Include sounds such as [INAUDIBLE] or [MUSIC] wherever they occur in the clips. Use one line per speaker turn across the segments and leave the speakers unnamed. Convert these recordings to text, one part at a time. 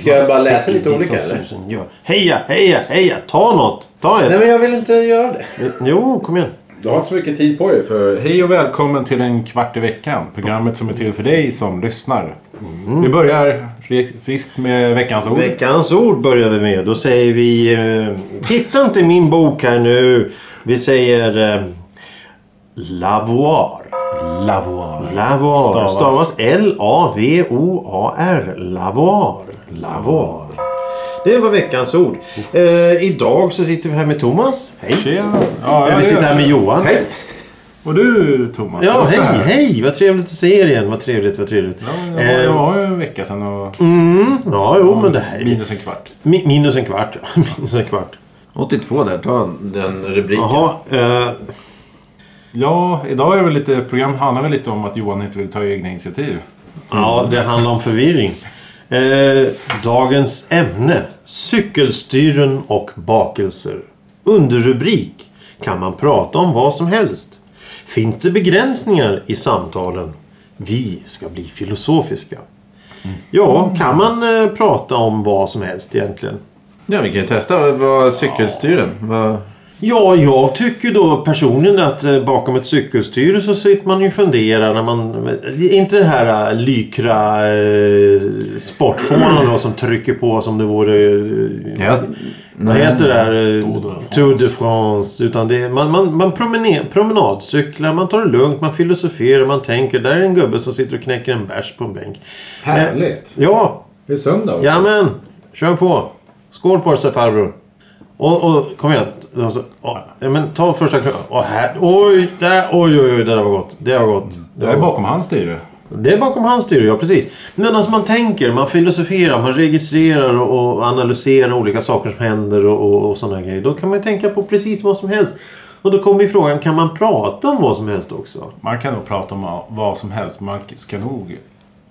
Ska jag bara läsa lite olika eller?
eller? Heja, heja, heja! Ta något! Ta
Nej
ett!
men jag vill inte göra det.
Jo, kom igen.
Du har inte så mycket tid på dig för hej och välkommen till en kvart i veckan. Programmet som är till för dig som lyssnar.
Mm.
Vi börjar ri- friskt med veckans ord.
Veckans ord börjar vi med. Då säger vi... Eh, titta inte i min bok här nu. Vi säger... Eh, lavoir.
Lavoir.
Lavoir.
Stavas.
Stavas L-A-V-O-A-R. Lavoir. Lavoir. Det var veckans ord. Eh, idag så sitter vi här med Thomas. Hej.
Tjena. Ja,
Eh,
ja,
Vi sitter
ja.
här med Johan.
Hej!
Och du Thomas.
Ja,
också
hej,
här.
hej! Vad trevligt att se er igen. Vad trevligt, vad trevligt.
Ja,
Eh,
Det var ju en vecka sedan och
Mm,
ja jo, men det här är...
minus en kvart.
Mi- Minus en kvart. [LAUGHS] Minus en kvart.
82 där, ta den rubriken.
Jaha. Eh,
Ja, idag är väl lite, program handlar väl lite om att Johan inte vill ta egna initiativ.
ja, det handlar om förvirring. Eh, dagens ämne. Cykelstyren och bakelser. Underrubrik. Kan man prata om vad som helst? Finns det begränsningar i samtalen? Vi ska bli filosofiska.
Mm.
Ja, kan man eh, prata om vad som helst egentligen?
Ja vi kan ju testa. Vad- Vad cykelstyren? Vad...
Ja, jag tycker då personligen att eh, bakom ett cykelstyre så sitter man ju och funderar när man... eh, Inte den här eh, lykra eh, sportfånan då som trycker på som det vore... Eh,
Jag-
vad heter det här? eh,
Tour de France.
Tour de France. Utan det, är- man man, man promener, promenadcyklar, man tar det lugnt, man filosoferar, man tänker. Där är en gubbe som sitter och knäcker en bärs på en bänk. Eh,
Härligt.
Ja,
Det är söndag också.
Jamen, kör på. Skål på dig farbror. Och, och kom igen. Då så- åh, ja, men ta första klubban. Åh, här. Oj, där. Oj, oj, oj. Det där var gott. Det var gott. Det,
Det är
var gott.
bakom hans styre.
det är bakom hans styre, ja precis. Men alltså man tänker, man filosoferar, man registrerar och och analyserar olika saker som händer och, och, och sådana grejer. Då kan man ju tänka på precis vad som helst. Och då kommer ju frågan, kan man prata om vad som helst också?
Man kan nog prata om vad som helst. Man ska nog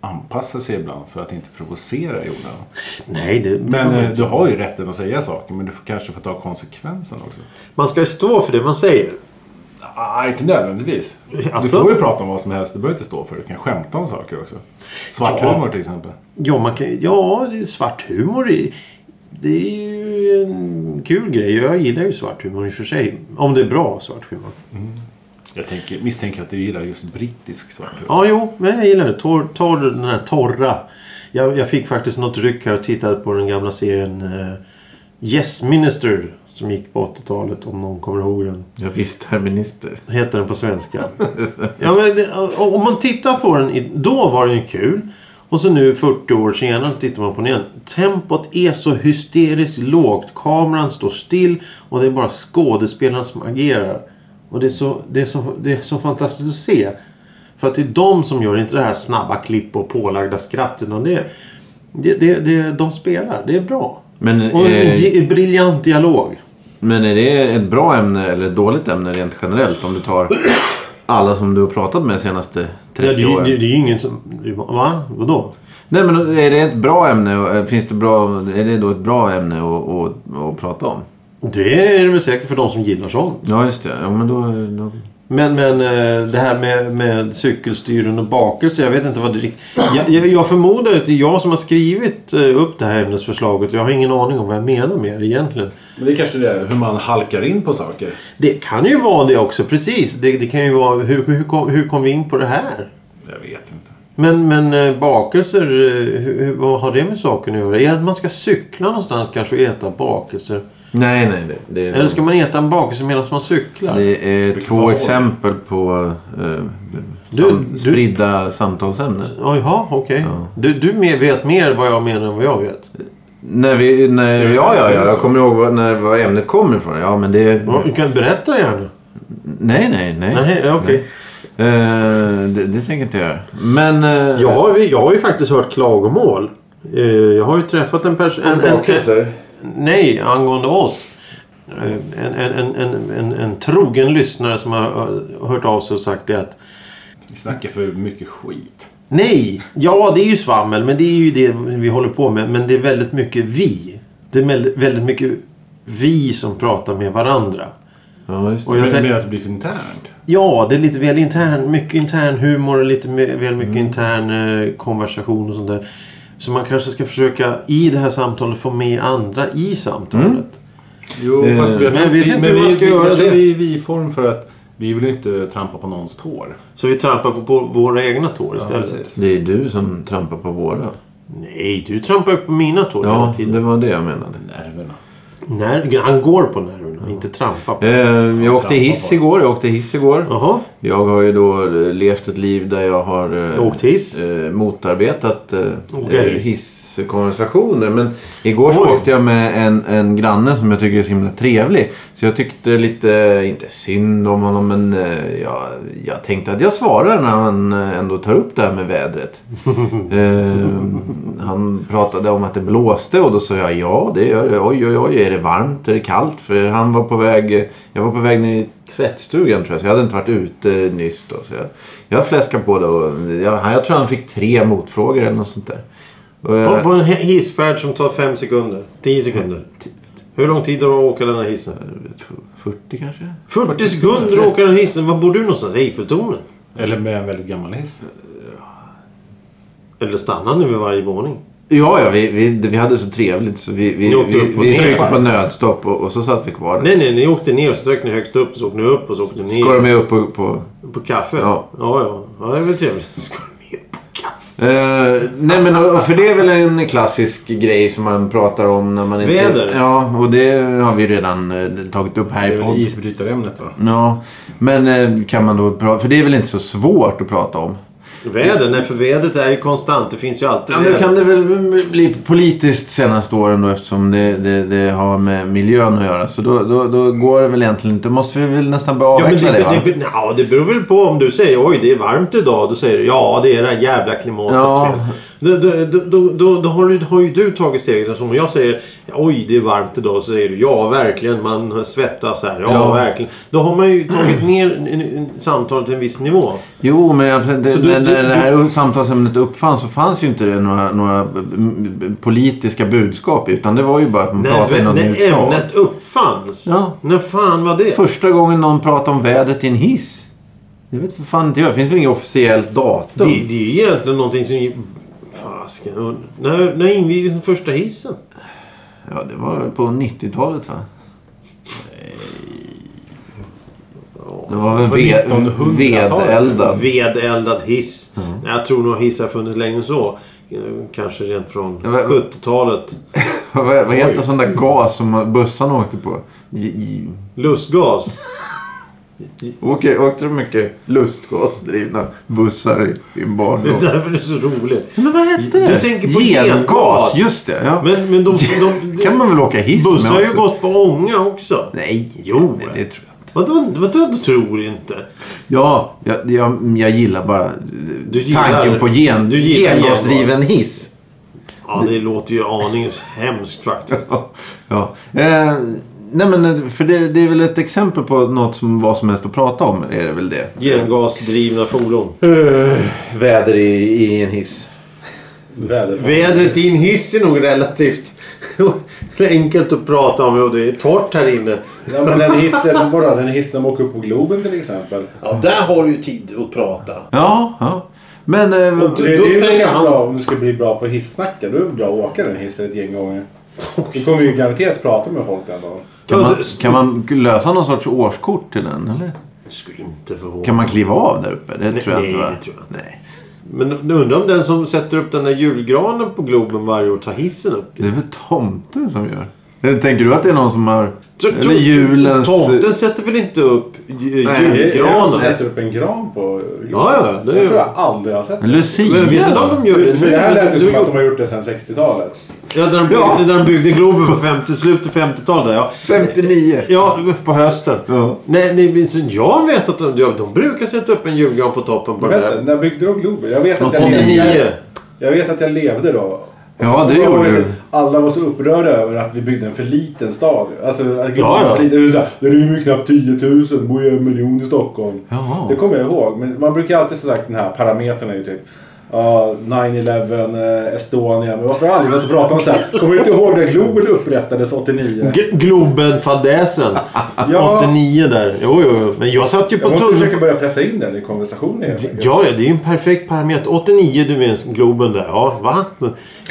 anpassa sig ibland för att inte provocera i onödan.
Nej, det...
Men eh, du har ju rätten att säga saker men du får kanske få ta konsekvensen också.
Man ska ju stå för det man säger.
Ah, inte nödvändigtvis.
Alltså?
Du får ju prata om vad som helst. Du behöver inte stå för det. Du kan skämta om saker också. Svart
Ja.
humor till exempel.
Ja, man kan, ja det är svart humor i, det är ju en kul grej. Jag gillar ju svart humor i och för sig. Om det är bra svart humor.
Jag tänker, misstänker att du gillar just brittisk svart humor.
Ja, jo, men jag gillar det. Torr, torr, den här torra. Jag, jag fick faktiskt något ryck här och tittade på den gamla serien eh, Yes Minister som gick på 80-talet om någon kommer ihåg den.
Ja, visst, herr minister.
Heter den på svenska. ja, men, det- och om man tittar på den, i- då var den ju kul. Och så nu 40 år senare så tittar man på den igen. Tempot är så hysteriskt lågt. Kameran står still och det är bara skådespelarna som agerar. Och det är så, det är så, det är så fantastiskt att se. För att det är de som gör inte det här snabba klipp och pålagda skratt. Utan det, det, det, det, de spelar. Det är bra.
Men,
Och en
eh,
gi- briljant dialog.
Men är det ett bra ämne eller ett dåligt ämne rent generellt? Om du tar alla som du har pratat med de senaste
Ja, det,
30
är- det,
åren.
det är ju ingen som... Va? Vadå?
Nej men är det ett bra ämne? och eh, Finns det bra, är det då ett bra ämne att, att, att prata om?
Det är det väl säkert för de som gillar sånt.
Ja just det. Ja, men då, då...
Men, men eh, det här med, med cykelstyren och bakelse. Jag vet inte vad det riktigt... Jag, jag, jag förmodar att det är jag som har skrivit eh, upp det här ämnesförslaget. Jag har ingen aning om vad jag menar med det egentligen.
Men det är kanske det är hur man halkar in på saker.
Det kan ju vara det också, precis. Det, det kan ju vara... Hur, hur, kom, hur kom vi in på det här?
Jag vet inte.
Men, men eh, bakelser, eh, hur, hur, vad har det med saken att göra? Är det att man ska cykla någonstans kanske och äta bakelser?
Nej nej. Det, det,
Eller ska man äta en bakelse medan man cyklar?
det är
Vilket
två
förhåll.
exempel på eh,
Du-
sam,
du-
spridda samtalsämnen.
Oh, jaha, okej. Du, du mer- vet mer vad jag menar än vad jag vet.
När vi, när,
Det är
ja, ja,
ganska
ja, jag
så.
kommer ihåg vad- när, vad ämnet kommer ifrån. Ja, men det...
Ja, Du kan berätta gärna.
Nej, nej, nej.
Nej, okej.
Eh, det, det tänker inte jag göra. Men... eh,
Jag, har ju- jag har ju faktiskt hört klagomål. Eh, Jag har ju träffat en person... En, en, en, nej, angående oss. Eh, En, en, en, en, en, en trogen lyssnare som har eh, hört av sig och sagt det att
Vi snackar för mycket skit.
Nej, ja det är ju svammel men det är ju det vi håller på med. Men det är väldigt mycket vi. Det är väldigt- väldigt mycket vi som pratar med varandra.
Ja, just
Och
det.
jag
Men det
tänk-
blir att det blir för internt.
Ja, det är lite väl intern, mycket intern humor och lite me- väl mycket intern eh, konversation och sånt där. Så man kanske ska försöka i det här samtalet få med andra i samtalet.
Jo,
Eh,
fast jag
men jag
tror
vet
vi-
inte
men
hur man
vi-
ska
vi-
göra
jag tror
det.
vi är i vi-form för att vi vill ju inte trampa på någons tår.
Så vi trampar på, på våra egna tår istället.
det är du som trampar på våra.
Nej, du trampar ju på mina tår hela
Ja,
tiden.
det var det jag menade.
Nerverna.
När, han går på nerverna, inte trampar på.
Eh, Jag åkte hiss igår. Jag åkte hiss igår.
Jaha,
Jag har ju då eh, levt ett liv där jag har eh,
du åkte hiss.
eh, motarbetat eh,
Åka
eh,
hiss.
hisskonversationer. Men igår så
Oj.
åkte jag med en, en granne som jag tycker är så himla trevlig. Så jag tyckte lite, inte synd om honom, men eh, jag, jag tänkte att jag svarar när han eh, ändå tar upp det här med vädret. eh, han pratade om att det blåste och då sa jag ja, det gör det. Oj, oj, oj, är det varmt? Är det kallt? För han var på väg, jag var på väg ner i tvättstugan tror jag. Så jag hade inte varit ute nyss då. Så jag, jag fläskade på det och jag, jag tror han fick tre motfrågor eller något sånt där. Och jag-
På, på en hi- hissfärd som tar fem sekunder. Tio sekunder. Hur lång tid har du att åka den här hissen?
40 kanske?
40 sekunder att åka den här hissen. Var bor du någonstans? Eiffeltornet?
Eller med en väldigt gammal hiss.
Eller stannar nu vid varje våning?
Ja, ja vi, vi, vi hade så trevligt så vi, vi,
Ni åkte
vi,
upp och
vi
ner
tryckte
bara.
på nödstopp och, och så satt vi kvar.
Nej, nej, ni åkte ner och så drack ni högst upp och så åkte ni upp och så åkte ni
Skar de med upp på... på.
på kaffe.
Ja.
ja, ja. Ja, det är väl trevligt. Ska du med på kaffe?
Eh, nej men och- och för det är väl en klassisk grej som man pratar om när man inte...
Väder.
Ja, och det har vi redan eh, tagit upp här
Det
i
är väl
podden.
isbrytarämnet va?
Ja, men eh, kan man då prata... För det är väl inte så svårt att prata om?
Väder? Nej, för vädret är ju konstant. Det finns ju alltid
Ja, men kan det väl bli politiskt senaste åren då eftersom det, det, det har med miljön att göra. Så då, då, då går det väl egentligen inte. måste vi väl nästan börja
Ja, men
avveckla
det,
det, va?
det, det, ja, det beror väl på om du säger oj det är varmt idag. Då säger du ja det är det här jävla klimatets
Ja.
fel. Då, då, då, då, då, då har, du, har ju du tagit steget. Som om jag säger oj det är varmt idag. Så säger du ja verkligen man svettas här. Ja,
Ja.
verkligen. Då har man ju tagit ner en- en- samtalet till en viss nivå.
Jo, men jag, det,
Så du-
när,
du-
när det här
du-
samtalsämnet uppfanns så fanns ju inte det några, några mm, politiska budskap. Utan det var ju bara att man
När,
pratade
vä-
inom
när
neutralt.
ämnet uppfanns.
Ja.
När fan var det?
Första gången någon pratade om vädret i en hiss. Det vet för fan inte jag. Det finns väl inget officiellt
Det,
datum?
det är ju egentligen någonting som... Fasken. och När, när invigdes den första hissen?
Ja, det var väl på 90-talet va? Det var väl
På
ved,
1900-talet.
vedeldad.
Vedeldad hiss. Nej, Jag tror nog hissar funnits längre än så. Eh, Kanske rent från
Ja, men-
70-talet.
[LAUGHS] Vad, vad heter sån där gas som bussarna åkte på? J, j,
Lustgas.
åkte, åkte det mycket lustgasdrivna bussar i, i
Det är
barndom?
därför det är så roligt.
Men vad hette
Du tänker på gengas.
Just det. Ja.
Men,
[LAUGHS]
men de, de,
kan man väl åka hiss
Bussar har ju
också?
gått på ånga också.
Nej,
Jo.
nej, det tror jag inte.
Vadå, vadå du tror inte?
Ja, jag, jag, jag gillar bara
gillar-
tanken på gen,
du gillar
gengasdriven hiss.
Ja, det låter ju aningens hemskt faktiskt.
[LAUGHS] Ja. ja. Eh, nej men eh, för det, det är väl ett exempel på något som vad som helst att prata om. Är det väl det?
Gengasdrivna fordon. Eh,
Väder i, i en hiss.
Vädret i en hiss är nog relativt [LAUGHS] enkelt att prata om. Och det är torrt här inne.
Ja men den hissen, bara den hissen de åker upp på Globen till exempel.
Ja, där har du ju tid att prata.
Ja, ja. Men... Eh,
Det, det är
Då
ju
tänker
ganska
han-
bra om du ska bli bra på hissnacken. Då är det bra att åka den hissen ett gäng
[LAUGHS]
gånger. Du kommer ju garanterat prata med folk den dagen.
kan, man, kan man lösa någon sorts årskort till den? Eller?
Skulle inte förvåna.
Kan man kliva av där uppe? Det
Nej,
tror jag inte
nej,
va?
det tror jag inte.
Nej.
Men nu undrar om den som sätter upp den där julgranen på Globen varje år tar hissen upp
Det
dit.
är väl tomten som gör? Eller tänker du att det är någon som har...
Tror-
eller
tror-
julens...
Tomten sätter väl inte upp ju-
Jag
julgranen?
sätter upp en gran på
Ja, ja, det är-
Jag tror jag aldrig har sett.
Lucia?
Men vet du om de gör det
För det här lät ju
nu?
som att de har gjort det sedan 60-talet.
Ja, där de byggde,
Ja.
Där de byggde Globen på 50, slutet av 50-talet. där, Ja.
59.
ja, på hösten.
Ja.
Nej, nej, men så jag vet att de, ja, de brukar sätta upp en julgran på toppen på
Jag
den
vet inte,
där.
när byggde de Globen? Jag vet att jag
89.
levde, jag vet att jag levde då.
Ja, det
Jag
gjorde
vet
du.
att Alla var så upprörda över att vi byggde en för liten stad. Alltså, att Globen
Ja, ja.
var för liten. Det är så här, Det rymmer ju knappt 10 000, det bor ju en miljon i Stockholm.
Jaha.
Det kommer jag ihåg. Men man brukar alltid som sagt den här parametern är ju typ
ja, 9-11, eh, Estonia. Men varför aldrig så pratar man så här. Kommer du inte ihåg när Globen upprättades 89?
G- Globenfadäsen.
[LAUGHS] Ja.
89 där. Jo, jo, jo. Men jag satt ju på
Jag måste
tunnelbanan.
försöka börja pressa in den i konversationen. helt enkelt.
Ja, ja, det är ju en perfekt parameter. 89, du minns Globen där. Ja, va?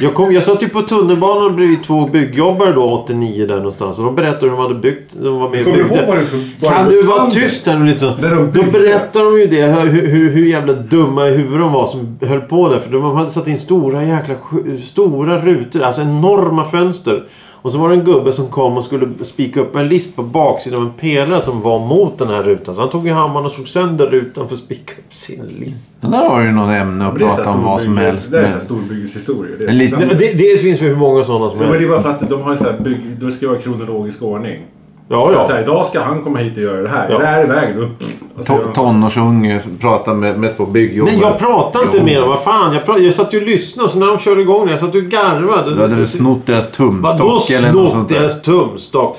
Jag, kom, jag satt ju på tunnelbanan bredvid två byggjobbare då 89 där någonstans. Och de berättade hur de hade byggt. De var med och
Kommer du ihåg
byggde.
vad du för- vad
Kan du vara
befann dig?
tyst där nu lite så?
När de
Då
byggde.
berättar de ju det. Hur, hur, hur jävla dumma i huvudet de var som höll på där. För de hade satt in stora jäkla sk- stora rutor. Alltså enorma fönster. Och så var det en gubbe som kom och skulle spika upp en list på baksidan av en pelare som var mot den här rutan. Så han tog ju hammaren och slog sönder rutan för att spika upp sin list.
Det där har ju något ämne att
Det är så här
prata om vad som
storbygges-
helst
Det är så här
med.
storbyggeshistorier. Det är
En liten-
klassiskt.
Det, det, det finns ju hur många sådana som
Men det
helst.
är bara för att de har ju så här bygg... Då ska det vara kronologisk ordning.
Ja,
Så att
ja.
så här, idag ska han komma hit och göra det här.
Ja.
Det här är vägen upp. Alltså, Och så gör
To-
de-
Tonårsunge som pratar med, med två byggjobbare.
Nej, jag pratade inte med dem. Vad fan. Jag, pra- jag satt ju och lyssnade. Så när de körde igång det, jag satt och garvade.
Du hade väl snott deras
Vadå
tumstock eller något
snott
sånt där.
deras tumstock?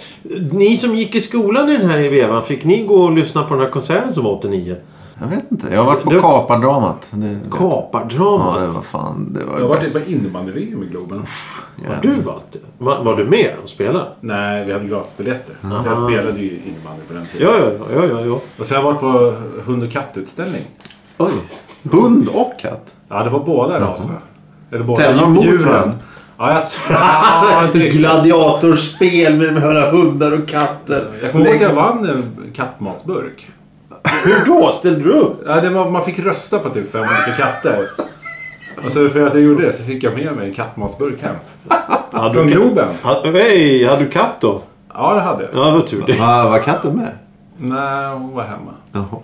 Ni som gick i skolan i den här vevan, fick ni gå och lyssna på den här konserten som var 89?
Jag vet inte. Jag har varit på
Det-
Kapardramat. Det... Ja, det
Kapardramat.
var fan. Det var
Jag
det
har varit
bästa.
på innebandy-VM i Globen.
Har du varit det? Va- Var du med och spelade?
Nej, vi hade gratisbiljetter. Jag spelade ju innebandy på den tiden.
Ja, ja, ja, ja, ja.
Och sen har jag varit på hund och kattutställning.
Oj. Hund och katt?
Ja, det var båda raserna. Eller båda
Tävlar de mot
djuren.
varandra?
Ja, jag [LAUGHS] tror... Ja, inte riktigt.
Gladiatorspel med de här hundar och katter.
Jag kommer ihåg att jag vann en kattmatsburk.
Hur då? Ställde du upp?
Ja, det var, man fick rösta på typ fem olika katter. Och så för att jag gjorde det så fick jag med mig en kattmatsburk hem.
Hade
Från
du katt?
Globen.
Ha- Hej, hade du katt då?
Ja, det hade jag.
Ja, vad tur det.
Va, var katten med?
Nej, hon var hemma.
Jaha.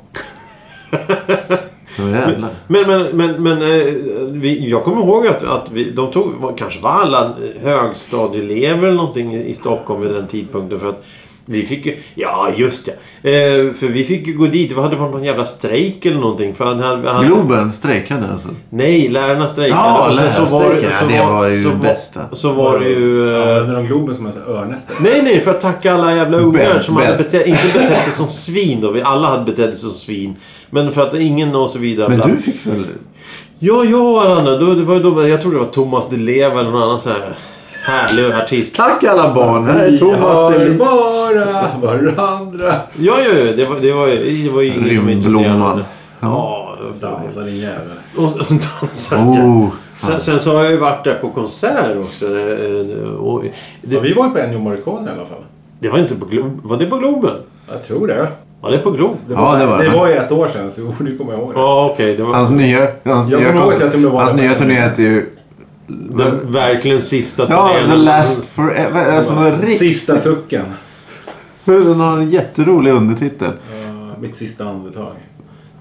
Ja, jävlar.
Men, men, men, men eh, vi, jag kommer ihåg att, att vi, de tog, var- kanske var alla högstadieelever eller någonting i Stockholm vid den tidpunkten. För att vi fick ju, ja just det. Eh, för vi fick ju gå dit, det hade varit någon jävla strejk eller någonting. För han, han, han,
Globen strejkade alltså.
Nej, lärarna strejkade.
Ja,
Och sen så var
lärarstrejken.
så
Ja, det var ju
så
det bästa.
Så var det ju... eh,
Jag använde de Globen som ett örnäste.
Nej, nej, för att tacka alla jävla ungar
Ben,
som hade
Ben.
bete- inte betett sig som svin då. Vi alla hade betett sig som svin. Men för att ingen och så vidare.
Men
bland-
du fick väl...
Ja, ja, Aranda. Då, det var, ju då, jag tror det var Thomas Di Leva eller någon annan så här härlig artist.
Tack alla barn! Här är Thomas
Har
Delin.
bara varandra.
Ja, ja, ja. Det var, det var, ju- det var ju ingen som var intresserad av
Rymdblomman.
det. Ja,
Dansar din jävel.
och, och dansade.
Oh.
Sen, sen så har jag ju varit där på konsert också. eh, Och
Ja,
det,
vi var ju på Ennio Morricone i alla fall.
det var inte på Globen. Var det på Globen?
Jag tror det.
Var det på Globen?
Det
Ja,
var,
det var det.
var ju ett år sedan, så [LAUGHS] jo, nu kommer jag ihåg det.
Ja, okej. det var
Hans nya, hans
Jag
nya,
kommer ihåg att jag till och med var
hans
där.
nya turné heter ju...
den verkligen sista
Ja, The Last Forever. Alltså, någon rikt-
Sista sucken.
den har en jätterolig undertitel.
Eh, mitt sista andetag.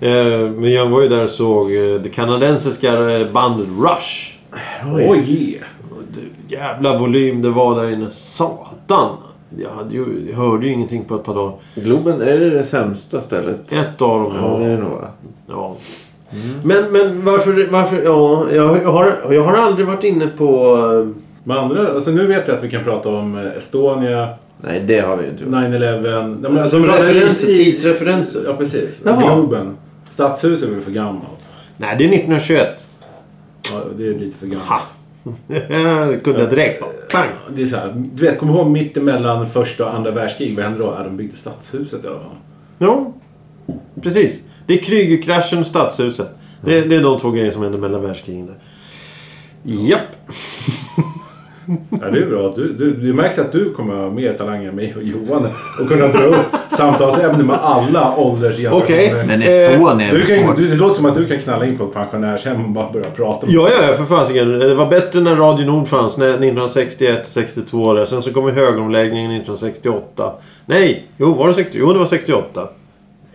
Eh, Men jag var ju där och såg eh, det kanadensiska eh, bandet Rush.
Oj! yeah.
Du, jävla volym det var där inne. Satan! Jag, hade ju, jag hörde ju ingenting på ett par dagar.
Globen, är det det sämsta stället?
Ett av dem. Ja.
är Mm. det nog va?
ja. Men, men varför... varför ja, jag, jag, har, jag har aldrig varit inne på... eh,
Men andra, alltså nu vet jag att vi kan prata om eh, Estonia,
Nej, det har vi ju inte
9-11. Nej, men alltså,
Som
vi pratade
referenser,
i-
tidsreferenser.
Ja, precis.
Jaha.
Globen. Stadshuset är väl för gammalt.
Nej, det är 1921.
Ja, det är lite för gammalt.
Ha! [LAUGHS] Det kunde jag direkt. Bang!
Det är så här, du vet, kommer du ihåg mitt emellan första och andra världskrig? Vad hände då? Ja, de byggde stadshuset i alla fall.
Ja, precis. Det är Krügerkraschen och Stadshuset. Det, det är de två grejer som hände mellan världskrigen. där. Japp.
Ja, det är bra. Du, du, det märks att du kommer ha mer talang än mig och Johan och kunna dra upp samtalsämnen med alla åldersgenerationer.
Okej.
Men Estonia är
Eh, Du
väl
kan,
svårt.
du, det låter som att du kan knalla in på ett pensionärshem och bara börja prata.
Ja, ja, ja, för fasiken. Det var bättre när Radio Nord fanns. när- 1961, 62 där. Sen så kom ju högeromläggningen 1968. Nej, jo var det 68? Jo, det var 68.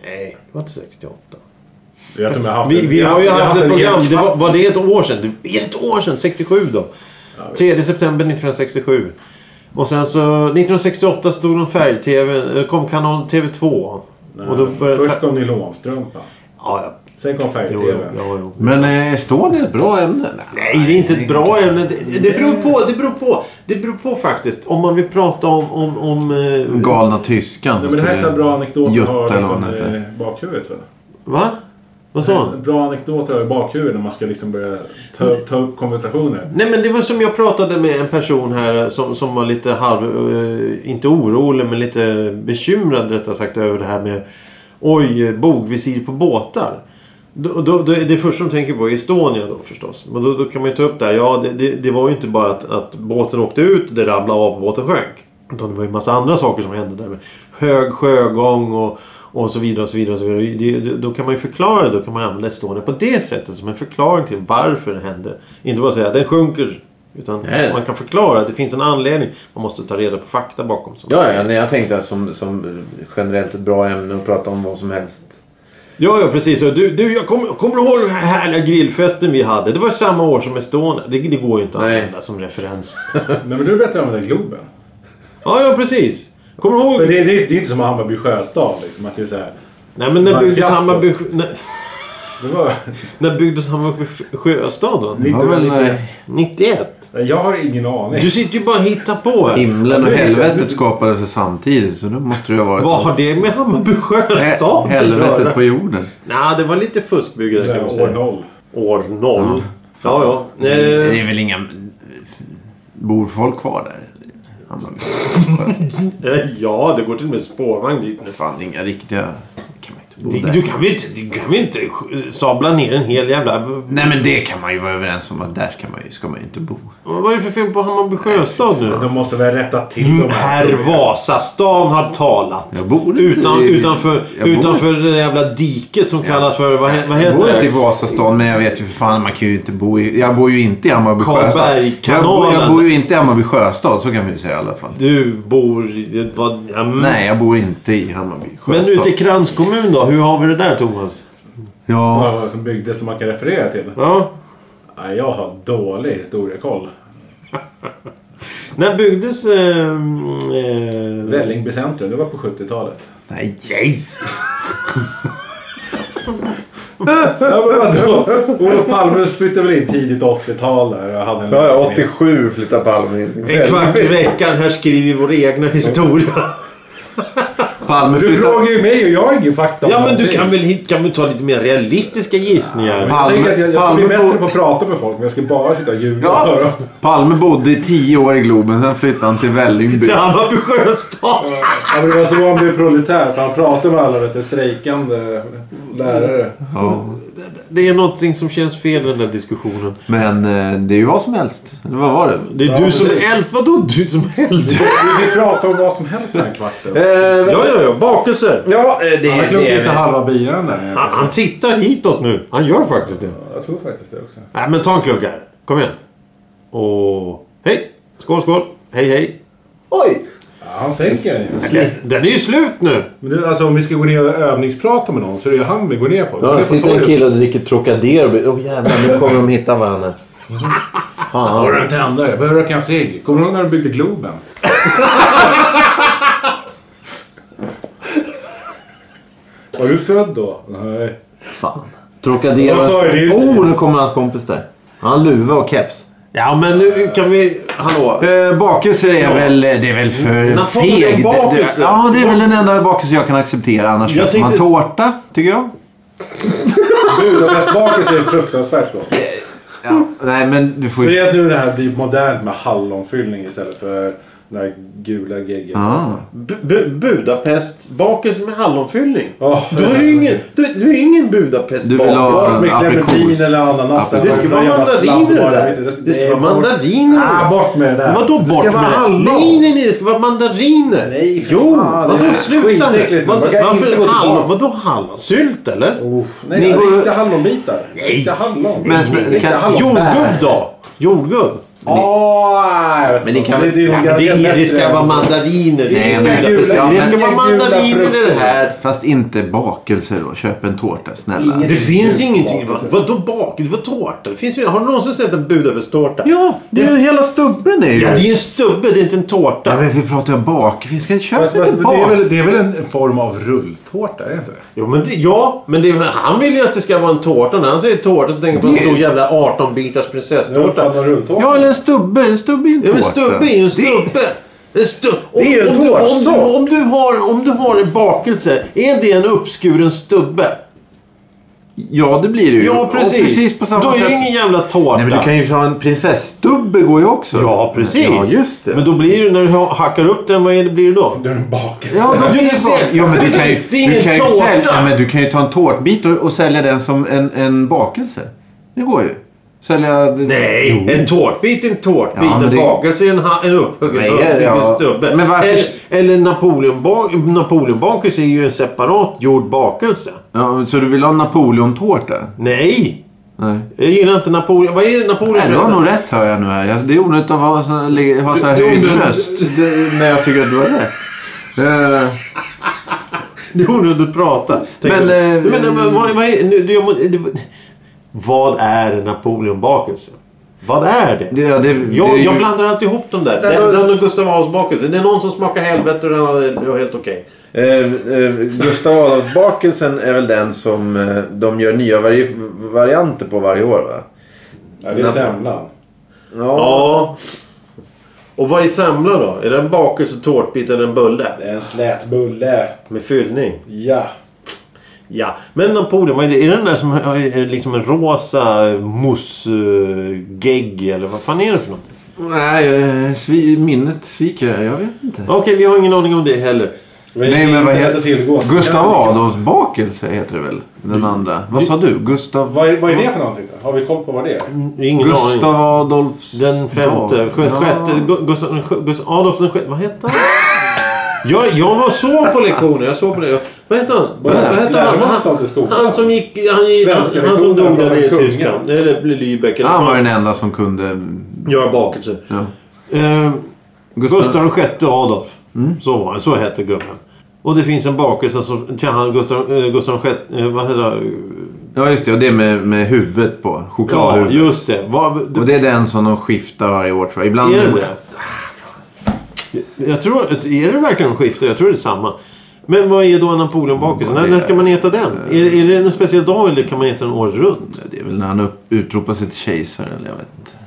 Nej, det var inte 68.
Jag vet inte om jag har haft
Vi,
en-
vi
jag
har ju
jag
haft ett
en
program.
hel
Det var,
kvart.
var det ett år sedan? Det är ett år sedan, 67 då. 3 september 1967. Och sen så 1968 så tog de färg-tv. eh, kom kanal TV2. och då började...
Först kom nylonstrumpa.
Ja, ja.
Sen kom
Jo,
färg-tv.
jo, ja, jo.
Men eh, Estonia är ett bra ämne.
Nej, det är inte ett bra ämne. Det, det beror på. Det beror på. Det beror på faktiskt. Om man vill prata om... om, om eh,
Galna tyskan.
Nej, men det här är så här bra anekdoter att
Götta
ha
eller vad han
liksom,
heter.
i bakhuvudet. Väl?
va? Vad sa han?
Bra anekdoter i bakhuvudet när man ska liksom börja ta, ta upp konversationer.
Nej men det var som jag pratade med en person här som, som var lite halv... eh, inte orolig men lite bekymrad rättare sagt över det här med Oj, eh, bogvisir på båtar. Då, då, då, är det första de tänker på är Estonia då förstås. Men då, då kan man ju ta upp det här. Ja, det, det, det var ju inte bara att, att båten åkte ut, det ramlade av och båten sjönk. Utan det var ju en massa andra saker som hände där. Med hög sjögång och, och så vidare. och så vidare, och så vidare. Det, det, då kan man ju förklara det. Då kan man använda Estonia på det sättet som en förklaring till varför det hände. Inte bara säga att den sjunker. Utan
Nej.
man kan förklara att det finns en anledning. Man måste ta reda på fakta bakom. sånt.
Ja, ja, nej, jag tänkte att som, som generellt ett bra ämne att prata om vad som helst.
Ja, ja precis. Och Du, du, jag kommer, kommer du ihåg den här härliga grillfesten vi hade? Det var samma år som Estonia. Det, det går ju inte att
Nej.
använda som referens.
Nej men du berättade om den där Globen.
Ja, ja precis. Kommer du
För
ihåg?
det, det, är- det är inte som Hammarby sjöstad liksom. Att det är så här,
Nej, men när
Manifesto.
byggdes Hammarby... När,
det var,
när byggdes Hammarby sjöstad då?
Det var väl eh,
91?
jag har ingen aning.
Du sitter ju bara och hittar på här.
himlen och helvetet skapades ju samtidigt så då måste det ju ha varit...
Vad har det med Hammarby sjöstad
Hä-
att göra?
Helvetet på jorden.
Nej, det var lite fuskbyggare
Det
kan man
är år
säga.
noll.
År noll. Ja, ja. Eh,
Det är väl inga... Bor folk kvar där?
eh, Ja, det går till och med spårvagn dit nu.
[LAUGHS] Fan, inga riktiga... Kan man inte bo
Det-
där.
Du kan väl inte, du kan väl inte sk- sabla ner en hel jävla...
Nej men det kan man ju vara överens om att där ska man ju, ska man ju inte bo.
Vad är det för fel på Hammarby sjöstad nu då?
De måste väl rätta till
Mm,
de här.
Herr Vasastan har talat.
Jag bor inte
Utan,
i-
utanför,
jag bor
utanför det där jävla diket som kallas för... Vad, he- vad
Jag bor
heter
inte i
det?
Vasastan men jag vet ju för fan man kan ju inte bo i... Jag bor ju inte i Hammarby sjöstad. Jag,
Karlbergkanalen.
bor- jag bor ju inte i Hammarby sjöstad så kan vi ju säga i alla fall.
Du bor i... det var- ja, mm. men-
Nej jag bor inte i Hammarby
Men
sjöstad.
ute i Krans kommun då? Hur har vi det där Thomas?
Ja.
Vad som byggdes som man kan referera till.
Ja.
Nej, jag har dålig historiekoll.
När byggdes... Eh, eh,
Vällingby centrum, det var på 70-talet.
Nej. nej.
Ja men vadå? Olof Palme flyttade väl in tidigt 80-tal där och hade en... lägenhet.
87 flyttade Palme in.
en kvart i veckan. Här skriver vi vår egna historia.
Palme
Du
flyttade...
frågar ju mig och jag har ingen fakta
[LAUGHS]
om
Ja men du
någonting.
kan väl, hit- kan väl ta lite mer realistiska gissningar?
Jag
Palme-
tänker att jag, jag ska bli
Palme
bättre
bor-
på att prata med folk men jag ska bara sitta och ljuga.
Ja.
Ja.
Palme bodde i tio år i Globen sen flyttade han till Vällingby.
Till Hammarby sjöstad.
men det var så han blev proletär för han pratade med alla vet du, strejkande lärare.
Ja.
Det är någonting som känns fel i den där diskussionen.
Men eh, det är ju vad som helst. Eller vad var det?
Det är
Ja,
du
men
som
det-
äldst. Vadå du som äldst?
Vi fick prata om vad som helst den här kvarten.
ja, ja, ja. Bakelser.
Ja, Eh, det
Han klunkade i sig halva bilen där.
Han, han tittar hitåt nu. Han gör faktiskt det.
Jag tror faktiskt det också.
Nej, men ta en klunk här. Kom igen. Och hej. Skål, skål. Hej, hej.
Oj!
Ja, han sänker den ju.
Eh, Den är ju slut nu.
Men du, alltså om vi ska gå ner och övningsprata med någon så är det ju han vi går ner på. Vi går
Ja,
ner
det
på
sitter en
torget.
kille och dricker Trocadero. Åh jävlar, nu kommer de hitta varandra.
Har
Fan.
du en tändare? Jag behöver röka en cigg. Kommer du ihåg när du byggde Globen? [LAUGHS] Var du född då? Nej.
fan. Trocadero.
Vad sa du?
Oh, nu kommer hans kompis där. Han har luva och keps.
Ja, men nu kan vi... Hallå.
Eh, bakelser är väl, det är väl för
När får man en
feg.
bakelse?
Ja, det är väl den enda bakelse jag kan acceptera. Annars
Jag
köper man
tänkte-
tårta, tycker jag.
Budapestbakelse är fruktansvärt gott.
Ja. Nej, men du får
För det
ju...
är att nu det här blir modernt med hallonfyllning istället för den här gula gegget.
Ah.
Bu- bu- Budapest. Bakelse med hallonfyllning.
Ja.
Du har ju ingen, du, du är ingen Budapest
Du vill ha-
Bort med
Aprikos.
clementin eller ananas.
Aprikos.
Det ska vara
Jävla sladd
mandariner det
bara.
där. Det ska
Nej,
vara
bort-
mandariner.
Ah, bort med det där.
Vadå bort
Det ska
med
vara hallon.
Nej, nej, nej. Det ska vara mandariner.
Nej, för
Jo,
fan, det
vadå
är
sluta nu?
skitäckligt.
Vad,
Man kan inte gå
varför hallon?
tillbaka.
Vadå hallon? Sylt eller?
Oh,
Ni
nej,
går-
riktiga hallonbitar. Riktiga hallon.
Men snälla,
Riktiga
kan-
hallon.
Jordgubb då? Jordgubb?
Åh, Ah, jag vet
Men ni
inte.
kan-
är
Ja, men
nog
det,
garanterat
det ska
bättre.
vara mandariner. Det
Nej,
är
men-
Budapest.
Ja,
Det ska
men-
vara mandariner i det
frukter.
här.
Fast inte bakelse då. Köp en tårta, snälla.
Ingen-
Det finns
Gud,
ingenting.
bakelse.
Vad- Vadå bak? Det var tårta. Det finns, ju- har du någonsin sett en Budapest-tårta?
Ja, det är ju hela stubben är ju...
Ja, det är en stubbe. Det är inte en
Ja,
tårta.
men vi pratar ju om bak. Vi ska köpa
Fast-
lite
fast Det är,
bak.
väl, det är väl en form av rulltårta, är det inte det?
Jo, men det, ja, men det, han vill ju att det ska vara en tårta. När han säger tårta så tänker jag på en stor jävla 18-bitars prinsesstårta.
rulltårta.
Ja, eller en stubbe. En stubbe är ju en
Ja,
tårta.
men stubbe är ju en stubbe. En stu-
är ju en
om, du, om, du,
tårtsort.
om, du har, om du har en bakelse, är det en uppskuren stubbe?
Ja, det blir det ju.
Ja, precis.
Och precis på samma
Då är
sätt.
det ingen jävla tårta.
Nej, men du kan ju ha en prinsessdubbe går ju också.
Ja, precis.
Ja, just det.
Men då blir det, när du ha- hackar upp den, vad är det, blir det då?
Du är en bakelse.
Ja, då
Du
blir det
kan
så.
se-
Ja, men du kan ju,
Det är
du
ingen
kan ju
tårta.
sälja, ja, men du kan ju ta en tårtbit och, och sälja den som en, en bakelse. Det går ju. Sälja...
Nej, en tårtbit är en tårtbit.
Ja, men
en
det-
bakelse är en, ha- en upphuggen
Nej,
upphuggen
ja.
stubbe.
Men varför-
Eller, eller Napoleonbak- Napoleonbakelse är ju en separat gjord bakelse.
Ja, så du vill ha en Napoleon-tårta?
Nej,
Nej.
jag gillar inte Napoleon. Vad är det Napoleon
Nej, du har
förresten?
nog rätt hör jag nu här. Jag- Det är onödigt att ha så, le- ha så här
Det är
hög
onödigt.
röst. Det- När jag tycker att du har rätt. Eh, [LAUGHS]
Det är onödigt att prata. tänker
Men,
jag.
eh,
men, men, vad, vad, är, nu, det, jag må- det, vad är en Napoleonbakelse? Vad är det?
det, ja, det, det,
jag,
är ju-
jag blandar alltid ihop dem där.
Nej, då-
Den, den och Gustav Adolfs bakelse. Det är någon som smakar helvete och den andra är helt okej.
Eh, eh, Gustav Adolfsbakelsen är väl den som eh, de gör nya vari- varianter på varje år va?
Ja, det är semlan.
Ja. Och vad är semla då? Är det en bakelse, tårtbit eller en bulle?
Det är en slät bulle.
Med fyllning?
Ja.
Ja. Men Napoleon, vad är det? Är det den där som har- är det liksom en rosa moussegegg eller vad fan är det för något?
Nej, eh, svi, minnet sviker. Jag vet inte.
Okej, vi har ingen aning om det heller.
Nej, men vad heter
tillgå. så
Gustav
kan vi-
Adolfsbakelse heter det väl? Den andra. Mm. Vad sa du? Gustav...
Vad är, vad är det för någonting? då? Har vi koll på vad det är?
Det är Ingen aning.
Gustav Adolfs...
Den femte,
dag.
sjätte, sjätte
Ja.
Gu- Gustav, den sjätte- Gustav Adolf den sjätte, vad hette han? Jag, jag var så på lektioner, jag såg på det. Vad hette han? Vad
Lärarna
vad hette han?
som sa till skolan.
Han som gick, han, gick-
Svenska
han, han som
lektioner
dog där
pratar
nere i
kungen.
Tyskland. Eller Lübeck eller
Han var
vad
den enda som kunde...
Göra bakelser.
Ja.
Eh, Gustav VI Adolf.
Mm.
Så var han, så hette gubben. Och det finns en bakelse alltså, till han Gustav, eh, Gustav VI, eh, vad heter han?
Ja, just det. Och det med, med huvudet på.
Ja,
Chokladhuvudet.
just det. Vad-
och det är den som de skiftar varje år tror jag. Ibland...
Är det det? Jag tror, är det verkligen en skifte? Jag tror det är samma. Men vad är då en Napoleonbakelse? När, när ska man äta den? Är, är det en speciell dag eller kan man äta den året runt?
Det är väl när han upp- utropar sig till kejsare eller jag vet inte.
[LAUGHS]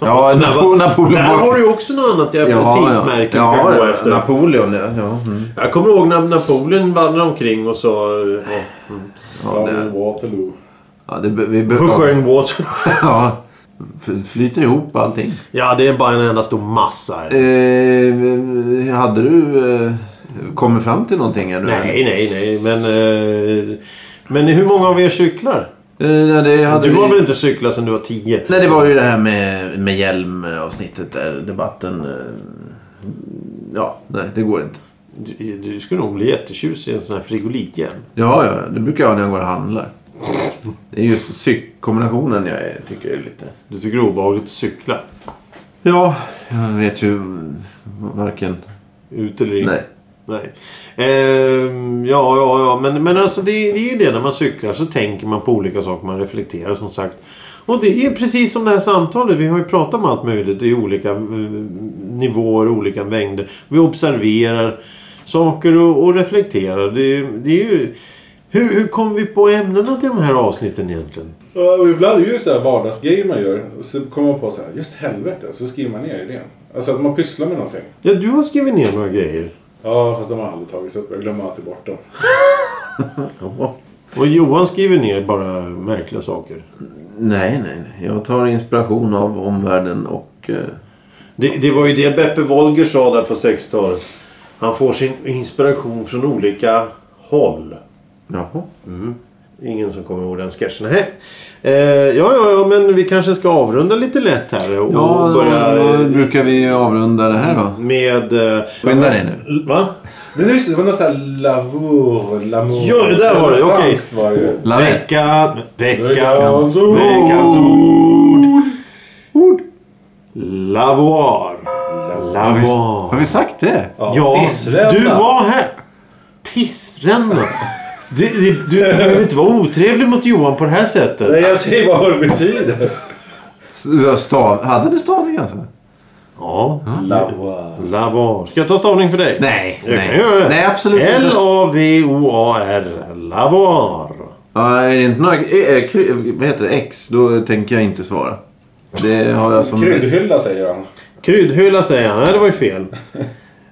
Ja,
Där
Napo-
var-
Napoleon...
Där har du ju också något annat jävla tidsmärke du kan gå efter.
Napoleon ja. ja mm.
jag kommer ihåg när Napoleon vandrade omkring och sa... eh,
Ja, det är Waterloo.
ja det, be- vi
Och
behöver...
sjöng Water.
[LAUGHS] Ja. F- Flyter ihop allting.
Ja, det är bara en enda stor massa. här.
Eh, hade du eh, kommit fram till någonting här nu?
Nej, nej, nej. Men, eh, men hur många av er cyklar?
Eh, nej, det hade
Du
vi...
har väl inte cyklat sedan du var tio?
Nej, det var ju det här med, med hjälmavsnittet där debatten... eh, Ja, nej, det går inte.
Du, du skulle nog bli jättetjusig i en sån här frigolithjälm.
Ja, ja, det brukar jag ha när jag går och handlar. Det är just cykelkombinationen jag är- tycker är lite...
Du tycker det är obehagligt att cykla?
Ja, jag vet ju varken...
Ut eller in?
Nej.
Nej. Ehm, ja, ja, ja. Men, men alltså det, det är ju det när man cyklar så tänker man på olika saker. Man reflekterar som sagt. Och det är precis som det här samtalet. Vi har ju pratat om allt möjligt i olika eh, nivåer, olika mängder. Vi observerar saker och, och reflekterar. Det, det är ju... Hur, hur kom vi på ämnena till de här avsnitten egentligen?
Ja, och ibland är det ju så här vardagsgrejer man gör. Och så kommer man på så här, just helvete. Så skriver man ner idén. Alltså att man pysslar med någonting.
Ja, du har skrivit ner några grejer.
Ja, fast de har aldrig tagits upp. Jag glömmer alltid bort dem.
Och Johan skriver ner bara märkliga saker.
Nej, nej, nej. Jag tar inspiration av omvärlden och... eh,
Det, det var ju det Beppe Wolger sa där på 60-talet. Han får sin inspiration från olika håll.
Jaha.
Ingen som kommer ihåg den sketchen. Nej. Eh, ja, ja, ja, men vi kanske ska avrunda lite lätt här och
Ja,
börja
då,
eh,
brukar vi avrunda det här då.
med... eh,
Skynda dig nu.
Va?
Men just det, det var något såhär lavour, l'amour.
Ja, det där var det, okej.
Franskt var det ju.
La vecka.
Veckan... Veckans...
Veckans ord.
Veckans ord! Lavoir.
Har vi,
Lavoir.
har vi sagt det?
Ja,
pissränna.
du var här. Pissränna. Det, det, du du behöver inte vara otrevlig mot Johan på det här sättet.
Nej, jag säger bara vad det betyder.
S- Stav, hade det stavning alltså?
Ja.
Lavour.
Lavar. Ska jag ta stavning för dig?
Nej,
Jag
nej.
kan göra det.
Nej, absolut inte.
L-A-V-O-A-R. Lavar.
Ja, är det inte några, eh, eh, kry, vad heter det? X? Då tänker jag inte svara. Det har jag som...
Kryddhylla säger han.
Kryddhylla säger han. Nej, det var ju fel.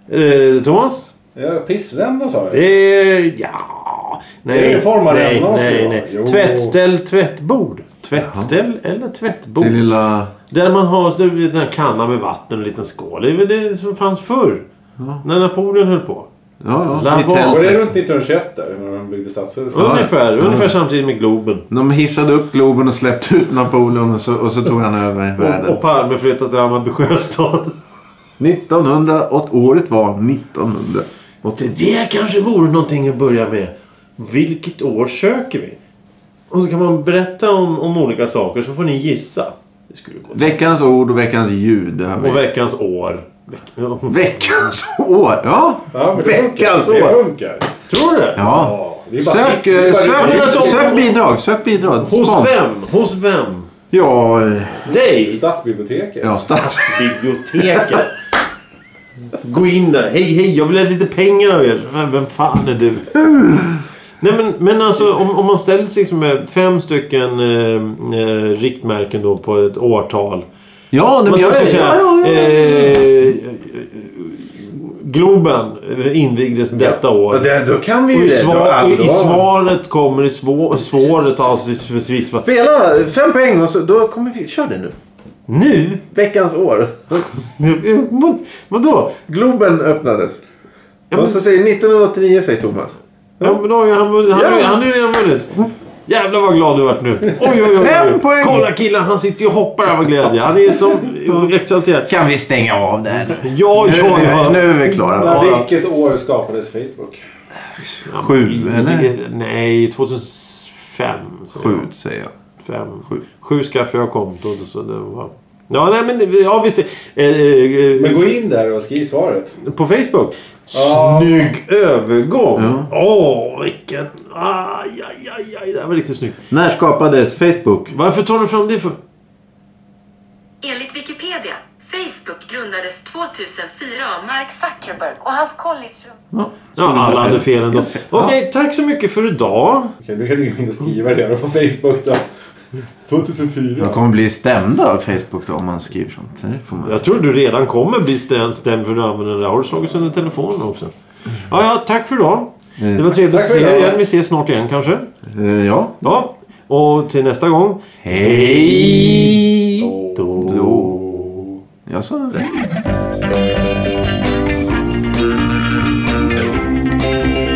Eh, Thomas?
Ja, pissränna sa jag.
Det är... Ja. Ja, nej,
Det är en form av
nej,
remnasium,
nej,
va?
nej.
Jo.
Tvättställ, tvättbord. Tvättställ eller tvättbord.
Det lilla...
Där man har så- den här kannan med vatten och en liten skål. Det är väl det som fanns förr. När Napoleon höll på.
Ja, ja.
Lavabo.
Var
I
det
tältet.
runt 1921 där? När de byggde stadshuset?
Ja.
Ungefär, ungefär samtidigt med Globen.
De hissade upp Globen och släppte ut Napoleon och så, och så tog han över
Och,
världen.
och Palme flyttade till Hammarby
[LAUGHS]
sjöstad.
1900 och året var 1900. Och
Det där kanske vore någonting att börja med. Vilket år söker vi? Och så kan man berätta om, om olika saker så får ni gissa. Det skulle gå.
Veckans ord och veckans ljud. Det här
Och
med.
veckans år. Veck-
Veckans år! Ja!
Ja, men det
veckans
funkar. Det
år!
funkar.
Tror du det?
Ja.
Ja, det är bara
Sök,
det är
eh,
bara- det är
sök,
bara-
sök, bidrag. Sök bidrag.
Hos
Spons.
vem? Hos vem?
Ja, eh,
Dig!
Stadsbiblioteket.
ja stats...
Biblioteket. Gå in där. Hej, hej, jag vill ha lite pengar av er. Men vem fan är du? Nej, men, men alltså om, om man ställer sig liksom med fem stycken eh, eh, riktmärken då på ett årtal.
Ja, nej,
Man
men jag...
skulle
Ja,
säga,
ja, ja.
eh, Globen eh, invigdes detta år.
Ja, det- Då kan vi
Och
ju
I,
det. Då-
svar,
ja,
i,
då-
I svaret kommer i svå, svaret alltså för svispa.
Spela fem poäng och så, då kommer vi... Kör det nu.
Nu?
Veckans år.
Nu- eh, vad- Vadå?
Globen öppnades.
Ja, men-
Och så säger 1989 säger Thomas.
Ja, men då, har ju han, vunnit- han, har ju- han är ju redan vunnit. Jävlar vad glad du vart nu. Oj, oj, oj. oj.
Fem poäng.
Kolla killen, han sitter ju och hoppar av glädje. Han är som exalterad.
Kan vi stänga av det här nu?
Ja, ja, ja.
Nu är vi klara.
Men
Ja.
Vilket år skapades Facebook?
Sju, eller?
Nej, 2005. säger jag.
Sju säger jag.
Fem. Sju. Sju skaffade jag kontot. Så det var... Ja, nej, men det- ja, visst. Eh, eh,
Men gå in där och skriv svaret.
På Facebook.
Ja.
Snygg övergång. Åh, vilken... Aj, aj, aj, aj. Det här var riktigt snyggt.
När skapades Facebook?
Varför tar du fram det för?
Enligt Wikipedia, Facebook grundades 2004 av Mark Zuckerberg och hans college.
Ja,
Ja, alla hade fel ändå. Okej, tack så mycket för idag.
Okej, nu kan du gå in och skriva det på Facebook då. 2004.
De kommer bli stämda av Facebook då om man skriver sånt. Så det får man...
Jag tror du redan kommer bli stäm- stämd för att du använder den där. Har du slagit sönder telefonen också? Ja, ja, tack för idag. Det var trevligt
Tack
att
för
se er
idag.
igen. Vi ses snart igen kanske.
Eh, Ja.
Ja, och till nästa gång.
Hej
då.
då. Jag sa det rätt.
Thank